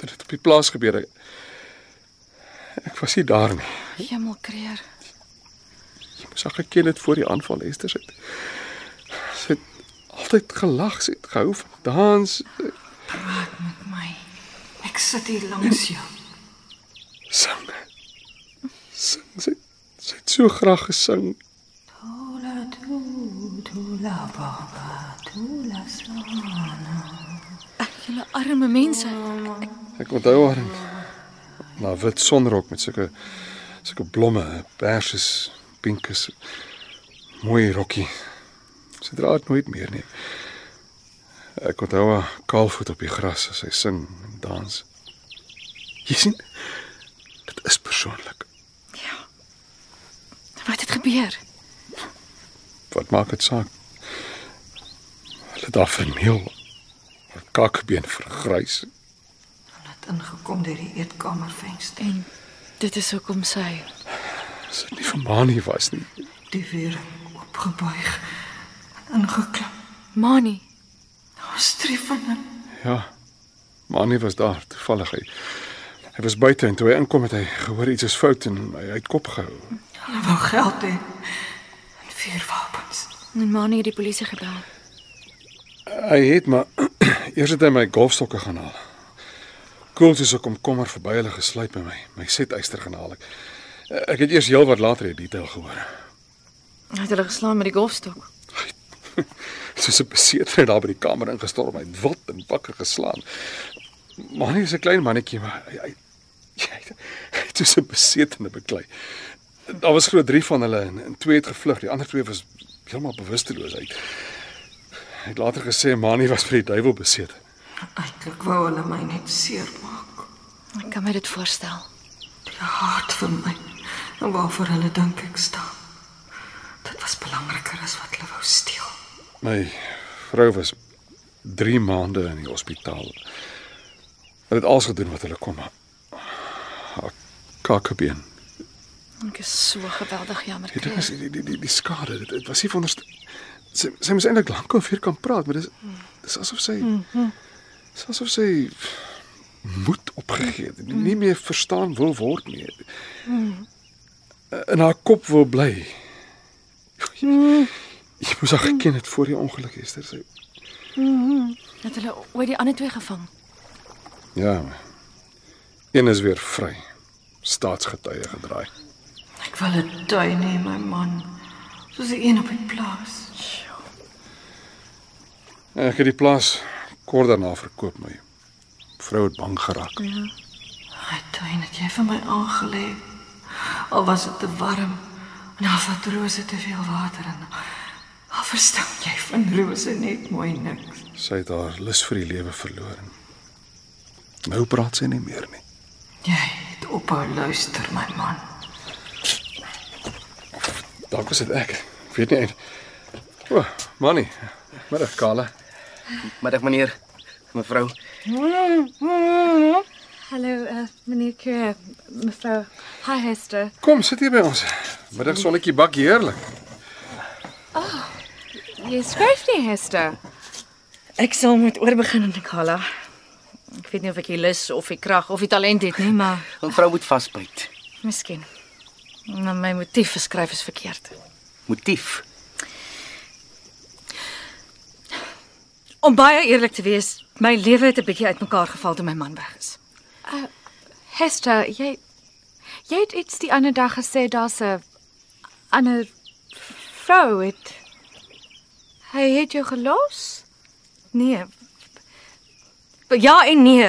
dit het op die plaas gebeur. Ek was nie daar nie. Hemel Kreer. Mens het geken dit voor die aanval Esther sit. Sy het altyd gelag, sy het gehou van dans. My. Ek sit hier langs jou. Sing. Sing sy. Sy het so graag gesing. Ola tu, tu la baba, tu la sana. Julle arme mense. Oh. Ek onthou haar in na wit sonrok met sulke sulke blomme, perses, pinkes. Mooi rokkie. Sy dra dit nooit meer nie. Ek onthou haar kaalvoet op die gras as sy sing en dans. Jy sien, dit is persoonlik. Wat het gebeur? Wat maak dit saak? Hulle het daar vermeel. Haar kakbeen vergrys. Hulle het ingekom deur die eetkamervenster. En dit is hoekom sy As dit nie vir Mani was nie. Die weer opgebuig en ingeklim. Mani, Ons streefening. Ja. Mani was daar toevallig. Hy, hy was buite en toe hy inkom het hy gehoor iets is fout en hy hy het kop gehou. Hulle wou geld hê. En vuurwapens. en Mani het die polisie gebel. Hy het maar eers het hy my golfstokke gaan haal. Koeltjies ek kom kommer verby hulle gesluip by my. My setuister gaan haal ek. Ek het eers heelwat later die detail gehoor. Hy het hulle geslaan met die golfstok. Soos 'n beseerde daar by die kamer ingestorm, hy het wild en wakker geslaan. Manie is 'n klein mannetjie, maar hy hy hy het- hy het soos 'n besetene beklei. Daar was glo 3 van hulle en, en twee het gevlug, die ander twee was heeltemal bewusteloos uit. Hy het later gesê Manie was vir die duiwel besete. Eintlik wou hulle my net seermaak. Ek kan my dit voorstel. Die haat vir my. En waarvoor hulle dink ek staan. Dit was belangriker as wat hulle wou steel. My vrou was 3 maande in die hospitaal. Hulle het alles gedoen wat hulle kon, maar haar kakkebeen Ek is so geweldig jammer. Dit is Kreer. die die die, die skade. Dit, dit was nie wonderst sy sy moes eintlik lank oor hier kan praat, maar dis dis asof sy Mhm. dis asof sy moed opgegee het. en Nie meer verstaan wil word nie. Mhm. In haar kop wil bly. Mhm. Jy moes haar geken het voor die ongeluk gister. Sy Mm-hmm. Het hulle ooit die ander twee gevang? ja. maar Een is weer vry. Staatsgetuie gedraai. Ek wil 'n tuin hê, my man. Soos die een op die plaas. Ek het die plaas kort daarna verkoop my. Vrou het bang geraak. Ja. Hy tuin het jy vir my aangelê. Al was dit te warm en al vat rose te veel water in. Al verstaan jy van rose net mooi niks. Sy het haar lus vir die lewe verloor. Nou praat sy nie meer nie. Jy het ophou luister, my man. Dalk is dit ek. Ek weet nie eintlik. O, oh, manie. Middag, Kala. Middag meneer, mevrou. Hallo uh, meneer Cure, mevrou Highhester. Kom, sit hier by ons. Middagsonnetjie bak heerlik. Jy skryf nie Hester. Ek sal moet oorbegin en ek hala. Ek weet nie of ek die lus of die krag of die talent het nie, maar Mevrou moet vasbyt. miskien. Maar my motief vir skryf is verkeerd. Motief. Om baie eerlik te wees, my lewe het 'n bietjie uitmekaar geval toe my man weg is. Hester, jy jy het iets die ander dag gesê daar's 'n ander vrou het hy het jou gelos? Nee. Ja en nee.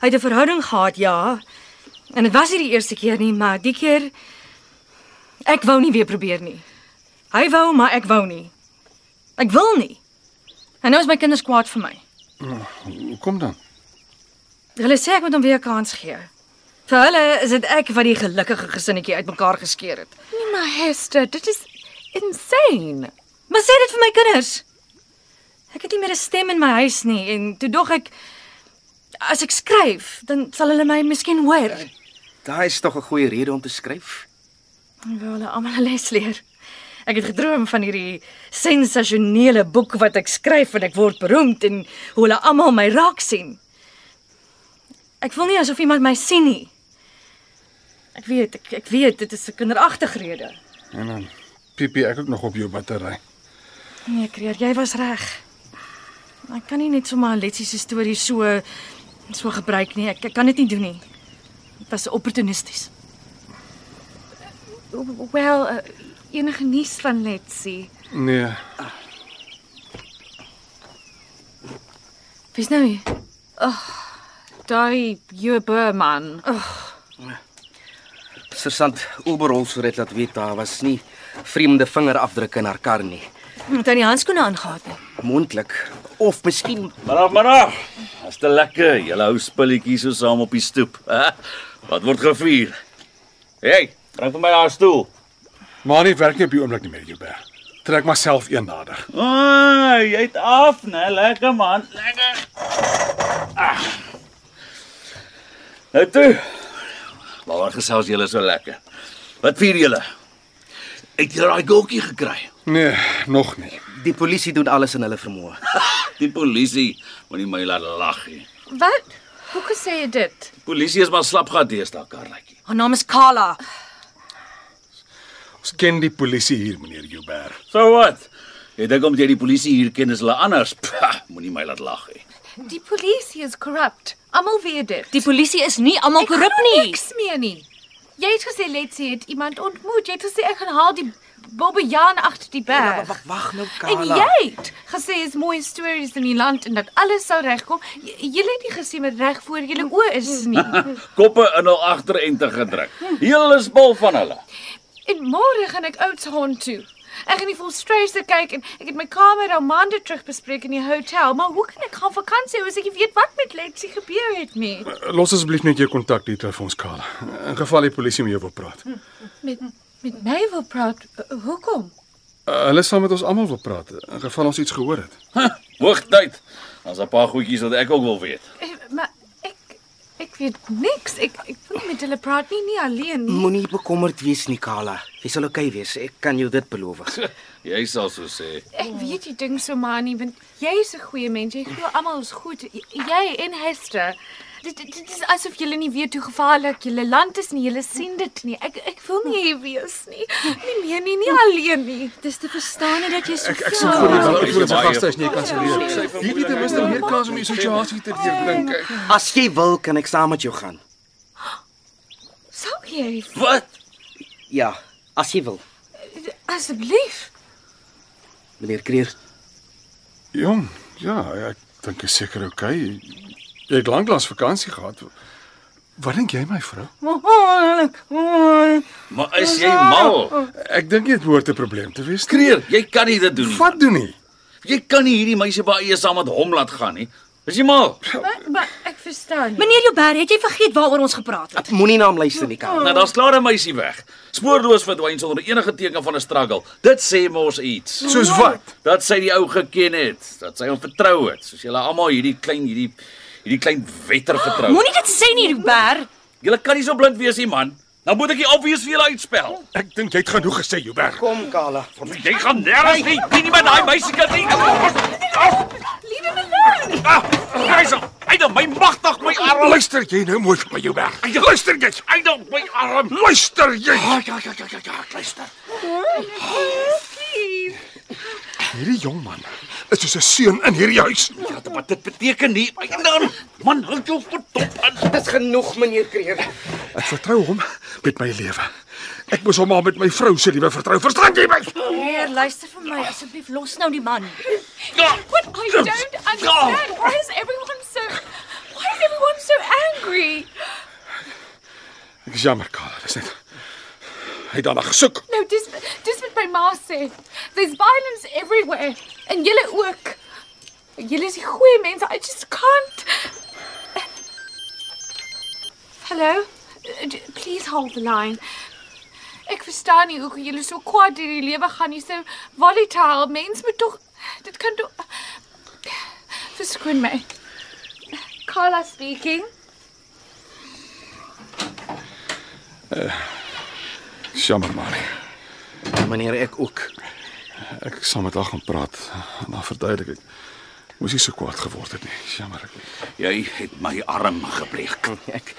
Hy het 'n verhouding gehad, ja. En dit was nie die eerste keer nie, maar die keer ek wou nie weer probeer nie. Hy wou, maar ek wou nie. Ek wil nie. En nou is my kinders kwaad vir my. Hoe kom dan? Hulle sê ek moet hom weer 'n kans gee. Vir hulle is dit ek wat die gelukkige gesinnetjie uitmekaar geskeer het. Nee maar Hester, dit is insane. Maar sê dit vir my kinders. Ek het nie meer 'n stem in my huis nie en toe dog ek as ek skryf, dan sal hulle my miskien hoor. Daai is tog 'n goeie rede om te skryf. Dan wil hulle almal 'n les leer. Ek het gedroom van hierdie sensasionele boek wat ek skryf en ek word beroemd en hoe hulle almal my raak sien. Ek wil nie asof iemand my sien nie. Ek weet, ek, ek weet dit is 'n kinderagtige rede. En dan piepie ek ook nog op jou battery. Nee, Kreer, jy was reg. Ek kan nie net sommer Letsie se storie so so gebruik nie. Ek, ek kan dit nie doen nie. Dit was opportunisties. Wel, uh, enige nuus van Letsie? Nee, Wie's nou hier? Daai Jubber man. Sergeant Oberholzer het laat weet daar was nie vreemde vingerafdrukke in haar kar nie. Het hy nie handskoene aangehad nie? Moontlik of miskien Middag, middag. Dis te lekker. Julle hou spulletjies so saam op die stoep. Wat word gevier? Hey, bring vir my daai stoel. maar nie werk nie op die oomblik nie meer, Joubert. Trek maar self een nader. O, oh, jy't af, né? Lekker man, lekker. Ah. Nou toe. Waar gesels julle so lekker? Wat vier julle? Het julle daai goeltjie gekry? Nee, nog nie. die polisie doen alles in hulle vermoë. Die polisie moenie my laat lag nie. Wat? Hoe gesê jy dit? Die polisie is maar slapgat deesdae, Karletjie. Haar naam is Kala. Ons ken die polisie hier, meneer Joubert. So wat? Jy dink omdat jy die polisie hier ken is hulle anders. Pah, Moenie my laat lag nie. Die polisie is corrupt. Almal weet dit. Die polisie is nie almal Ek korrup glo nie. Niks meer nie. Jy het gesê Letsie het iemand ontmoet. Jy het gesê ek gaan haal die Bobbejaan agter die berg. Wag, wag nou, En Kala. jy het gesê is mooi stories in die land en dat alles sou regkom. J- Julle het nie gesê met reg voor julle oë is nie. Koppe in hul agterente gedruk. Heel is bol van hulle. En môre gaan ek Oudtshoorn toe. Ek gaan die volstruise kyk en ek het my kamer al maande terug bespreek in die hotel, maar hoe kan ek gaan vakansie as ek nie weet wat met Letsie gebeur het nie? Los asseblief net jou kontakdetail vir ons, Karl. In geval die polisie met jou wil praat. Uh, Met met my wil praat. Uh, Hoekom? hulle sal met ons almal wil praat in geval ons iets gehoor het. Hoogtyd. Daar's 'n paar goedjies wat ek ook wil weet. Eh, Maar ek ek weet niks. Ek ek wil nie met hulle praat nie, nie alleen nie. Moenie bekommerd wees nie, Kala. Jy sal oukei okay wees. Ek kan jou dit beloof. Jy sal so sê. Ek weet jy dink so maar nie, want jy's 'n goeie mens. Jy glo almal is goed. J- Jy en Hester. Dit, dit, dit is asof julle nie weet hoe gevaarlik julle land is nie. Julle sien dit nie. Ek ek wil nie hier wees nie. Nie meer nie, nie alleen nie. Dis te verstaan nie dat jy so Ek sien vir dit dat ons gaste is nie kanselleer. Hierdie ten minste meer kans om die situasie te deurdink. As jy wil, kan ek saam met jou gaan. Sou jy Wat? Ja, as jy wil. asseblief Meneer Kreer, Jong, ja, ek dink is seker oukei. Okay. Jy het lanklaas vakansie gehad. Wat dink jy my vrou? Maar is jy mal? Ek dink dit behoort 'n probleem te wees. nie. Kreer, jy kan nie dit doen nie. Wat doen jy? Jy kan nie hierdie meisie baie eers saam met hom laat gaan nie. Is jy mal? Maar, maar ek verstaan nie. Meneer Joubert, het jy vergeet waaroor ons gepraat het? moenie na hom luister nie, Kala. Nou daar's klaar 'n meisie weg. Spoorloos verdwyn sonder enige teken van 'n struggle. Dit sê mos iets. Soos wat? Dat sy die ou geken het, dat sy hom vertrou het, soos julle almal hierdie klein hierdie Hierdie klein wetter getrou. Moenie dit sê nie, Robert. Julle kan nie so blind wees nie, man. Dan moet ek die obvious vir julle uitspel. Ek dink jy het genoeg gesê, Joubert. Kom Kala. Jy gaan nêrens nie. Nie nie met daai meisiekind nie. Ah, Leave him alone. Hyso. Einde my magtig my arm. Luister jy nou mooi vir my, Joubert. Einde luister jy. Einde my arm. Luister jy. Ja ja ja ja ja, ja, luister. Hierdie jong man is soos 'n seun in hierdie huis. Ja, wat dit beteken nie. Einde man, hou jou verdop aan. Dis genoeg meneer Kreer. Ek vertrou hom met my lewe. Ek moes hom maar met my vrou se liewe vertrou. Verstaan jy my? Heer, luister vir my asseblief. Los nou die man. Ja. But I don't understand. Why is everyone so Why is everyone so angry? Ek is jammer, Karl, dis net. Hy het daarna gesoek. Nou dis dis wat my ma sê. There's violence everywhere en julle ook. Julle is die goeie mense. I just can't. Hallo. D- Please hold the line. Ek verstaan nie hoekom julle so kwaad deur die lewe gaan nie. So volatile. Mens moet tog dit kan tog Verskoon my. Carla speaking. Dis jammer, Marie. Meneer ek ook. Ek sal met haar gaan praat en haar verduidelik ek. Moes nie so kwaad geword het nie. Dis Jammer ek. Jy het my arm gebreek. Nee, Ek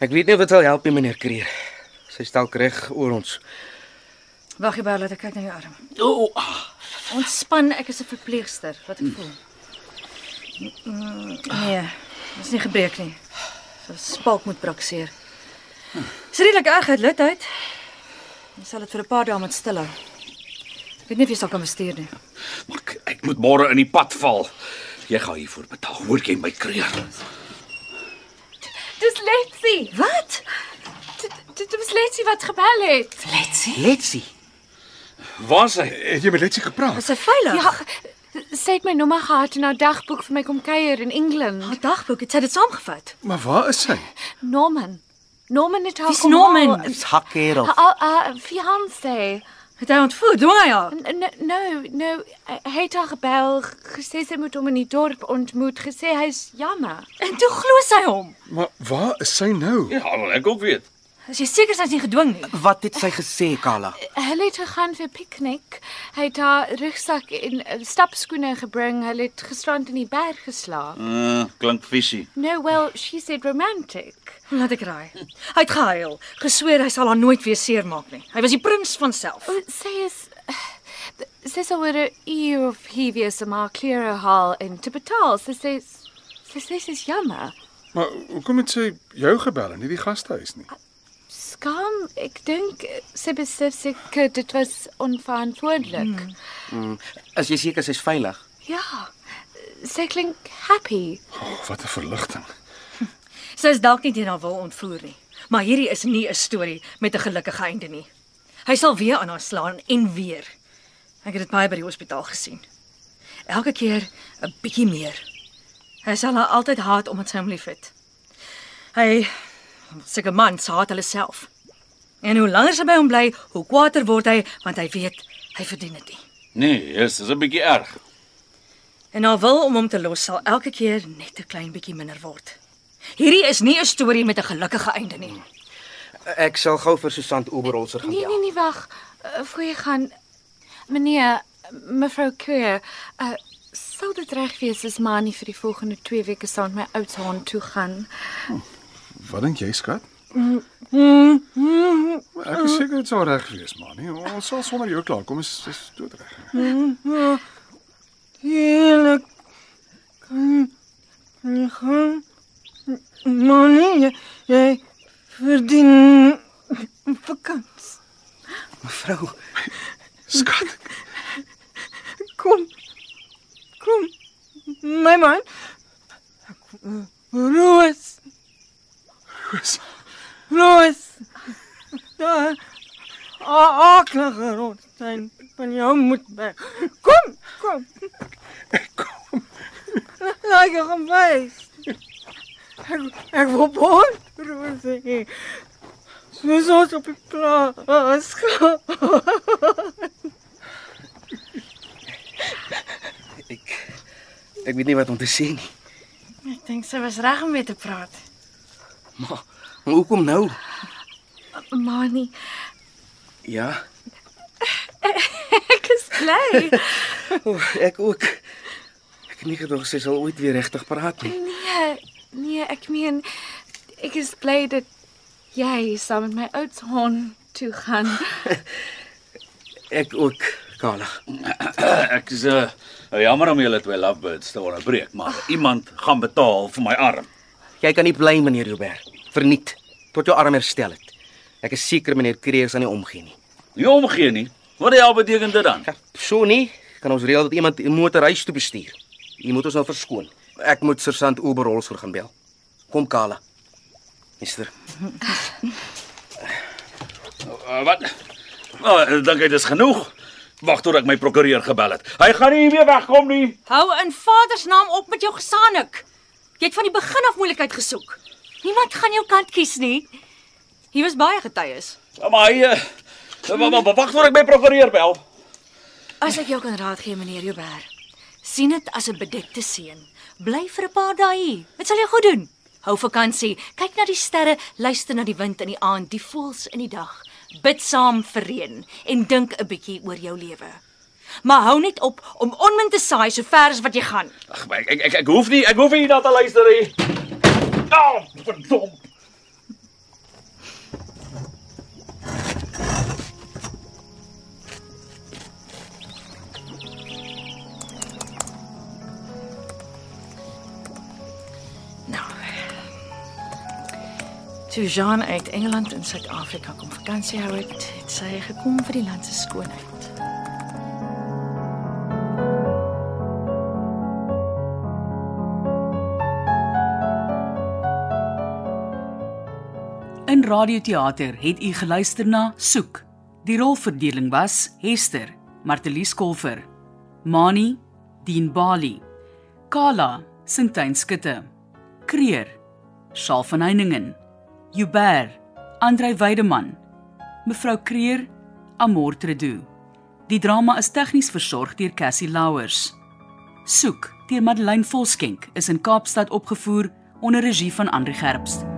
ek weet nie of dit sal help nie meneer Kreer. Sy stel reg oor ons. Wag jy baie laat ek kyk na jou arm. O, oh, Ontspan, ek is 'n verpleegster, wat ek voel. Mm, Nee, dis nie gebreek nie. So spalk moet brakseer. Dis redelik erg uit lid uit. Ons sal dit vir 'n paar dae moet stilhou. Ek weet nie of jy sal kan bestuur nie. maar ek, ek moet môre in die pad val. Jy gaan hiervoor betaal. Hoor jy my kreer? Dis Letsie. Wat? Dit dit was Letsie wat gebel het. Letsie. Waar is hy? Het jy met Letsie gepraat? Is sy veilig? Ja, sy het my nommer gehad in haar dagboek vir my kom kuier in Engeland. Haar dagboek, het sy dit saamgevat? Maar waar is sy? Norman. Norman het haar Wie's Norman? haal. ah, Dis hakkerel. Haar haar fiancé. Het hy ontvoer? Dwing hy haar? No, no, no, nou, hy het haar gebel, gesê sy moet hom in die dorp ontmoet, gesê hy's jammer. En toe glo sy hom. Maar waar is sy nou? Ja, wil ek ook weet. Is jy seker sy's nie gedwing nie? Wat het sy gesê Kala? Hulle het gegaan vir piknik. Hy het haar rugsak en eh, stapskoene gebring. Hulle het gisterand in die berg geslaap. Uh, klink visie. No, well, she said romantic. Laat ek raai. Hy het gehuil, gesweer hy sal haar nooit weer seermaak nie. Hy was die prins van self. O, Sy is sy sal oor 'n uur of hier wees om haar klere haal en te betaal. Sy sê sy sê sy's jammer. Maar hoekom het sy jou gebel en nie die gastehuis nie? Skam, ek dink eh, sy besef seker dit was onverantwoordelik. Hmm. Mm. As jy seker sy's veilig. Ja. Sy klink happy. Oh, wat 'n verligting. Sy is dalk nie teen haar wil ontvoer nie, maar hierdie is nie 'n storie met 'n gelukkige einde nie. Hy sal weer aan haar slaan en weer. Ek het dit baie by die hospitaal gesien. Elke keer 'n bietjie meer. Hy sal haar altyd haat omdat sy hom liefhet. Hy seker mans haat hulle self. En hoe langer sy by hom bly, hoe kwaader word hy want hy weet hy verdien dit nie. Nee, yes, dis 'n bietjie erg. En haar wil om hom te los sal elke keer net 'n klein bietjie minder word. Hierdie is nie 'n storie met 'n gelukkige einde nie. Ek sal gou vir Susan Oberholzer Oh, gaan ja. Nee, bel. nee, nee, wag. Eh, Voor jy gaan meneer mevrou Keur, uh, sou dit reg wees as Mani vir die volgende 2 weke saam met my ouers hond toe gaan? Wat dink jy, skat? Hmm. Maar Ek is seker dit sou reg wees, man. Nee, ons sal sonder jou klaar kom. Is is doodreg. Heerlijk. Kan je gaan? Manie, jij, jij verdient een vakantie. Mevrou, Skat, Kom. Kom. Mijn man. Roos. Roos. Roos. Daar. A- Akelige roos. Zijn van jou moet weg. Kom. Kom. kom. Laat je gaan wijs. Ik, ik wil boord, Roos. Soos ons op die plaas gaan. nee, ek ek weet nie wat om te sê nie. Ek dink sy was reg om mee te praat. Maar, maar hoekom nou? Mani, Ja, ek is bly. o, ek ook. Ek het nie gedog sy sal ooit weer regtig praat nie. Nee, nee, ek meen ek is bly dat jy saam met my oudshaan toe gaan. Ek ook, Kala. Ek is 'n uh, jammer om julle twee lovebirds te onderbreek, maar iemand gaan betaal vir my arm. Jy kan nie bly meneer Robert. Verniet tot jou arm herstel het. Ek is seker meneer Kreer sal nie omgee nie. Nie omgee nie. Wat die hel beteken dit dan? Ja, so nie kan ons reël dat iemand 'n motor huis toe bestuur. Jy moet ons nou verskoon. Ek moet sergeant Oberholz vir gaan bel. Kom Kala. Meester. Uh, wat? Nou, dink ek dis genoeg. Wag tot ek my prokureur gebel het. Hy gaan nie weer wegkom nie. Hou in Vader se naam op met jou gesaanik. Jy het van die begin af moeilikheid gesoek. Niemand gaan jou kant kies nie. Hier was baie getuies. Ja, Maar hy uh, wa- wa- wa- wag tot ek my prokureur bel. As ek jou kan raad gee, meneer Joubert, sien dit as 'n bedekte seën. Bly vir 'n paar dae hier. Dit sal jou goed doen. Hou vakansie, kyk na die sterre, luister na die wind in die aand, die voëls in die dag. Bid saam vir reën en dink 'n bietjie oor jou lewe. Maar hou net op om onmin te saai so ver as wat jy gaan. Ag, maar ek, ek ek ek hoef nie, ek hoef nie na te luister nie. Ah, oh, verdom. Nou. Toe Jean uit Engeland in Suid-Afrika kom vakansie hou het, het sy gekom vir die land se skoonheid. In radioteater het u geluister na Soek. Die rolverdeling was Hester, Martelies Kolfer, Mani, Dean Bali, Kala, Sintyn Skutte, Kreer, Shaal van Heiningen, Jubber, Andrei Weideman, Mevrou Kreer, Amor Tredu. Die drama is tegnies versorg deur Cassie Louwers. Soek deur Madeleine Volskenk is in Kaapstad opgevoer onder regie van Andri Gerbst.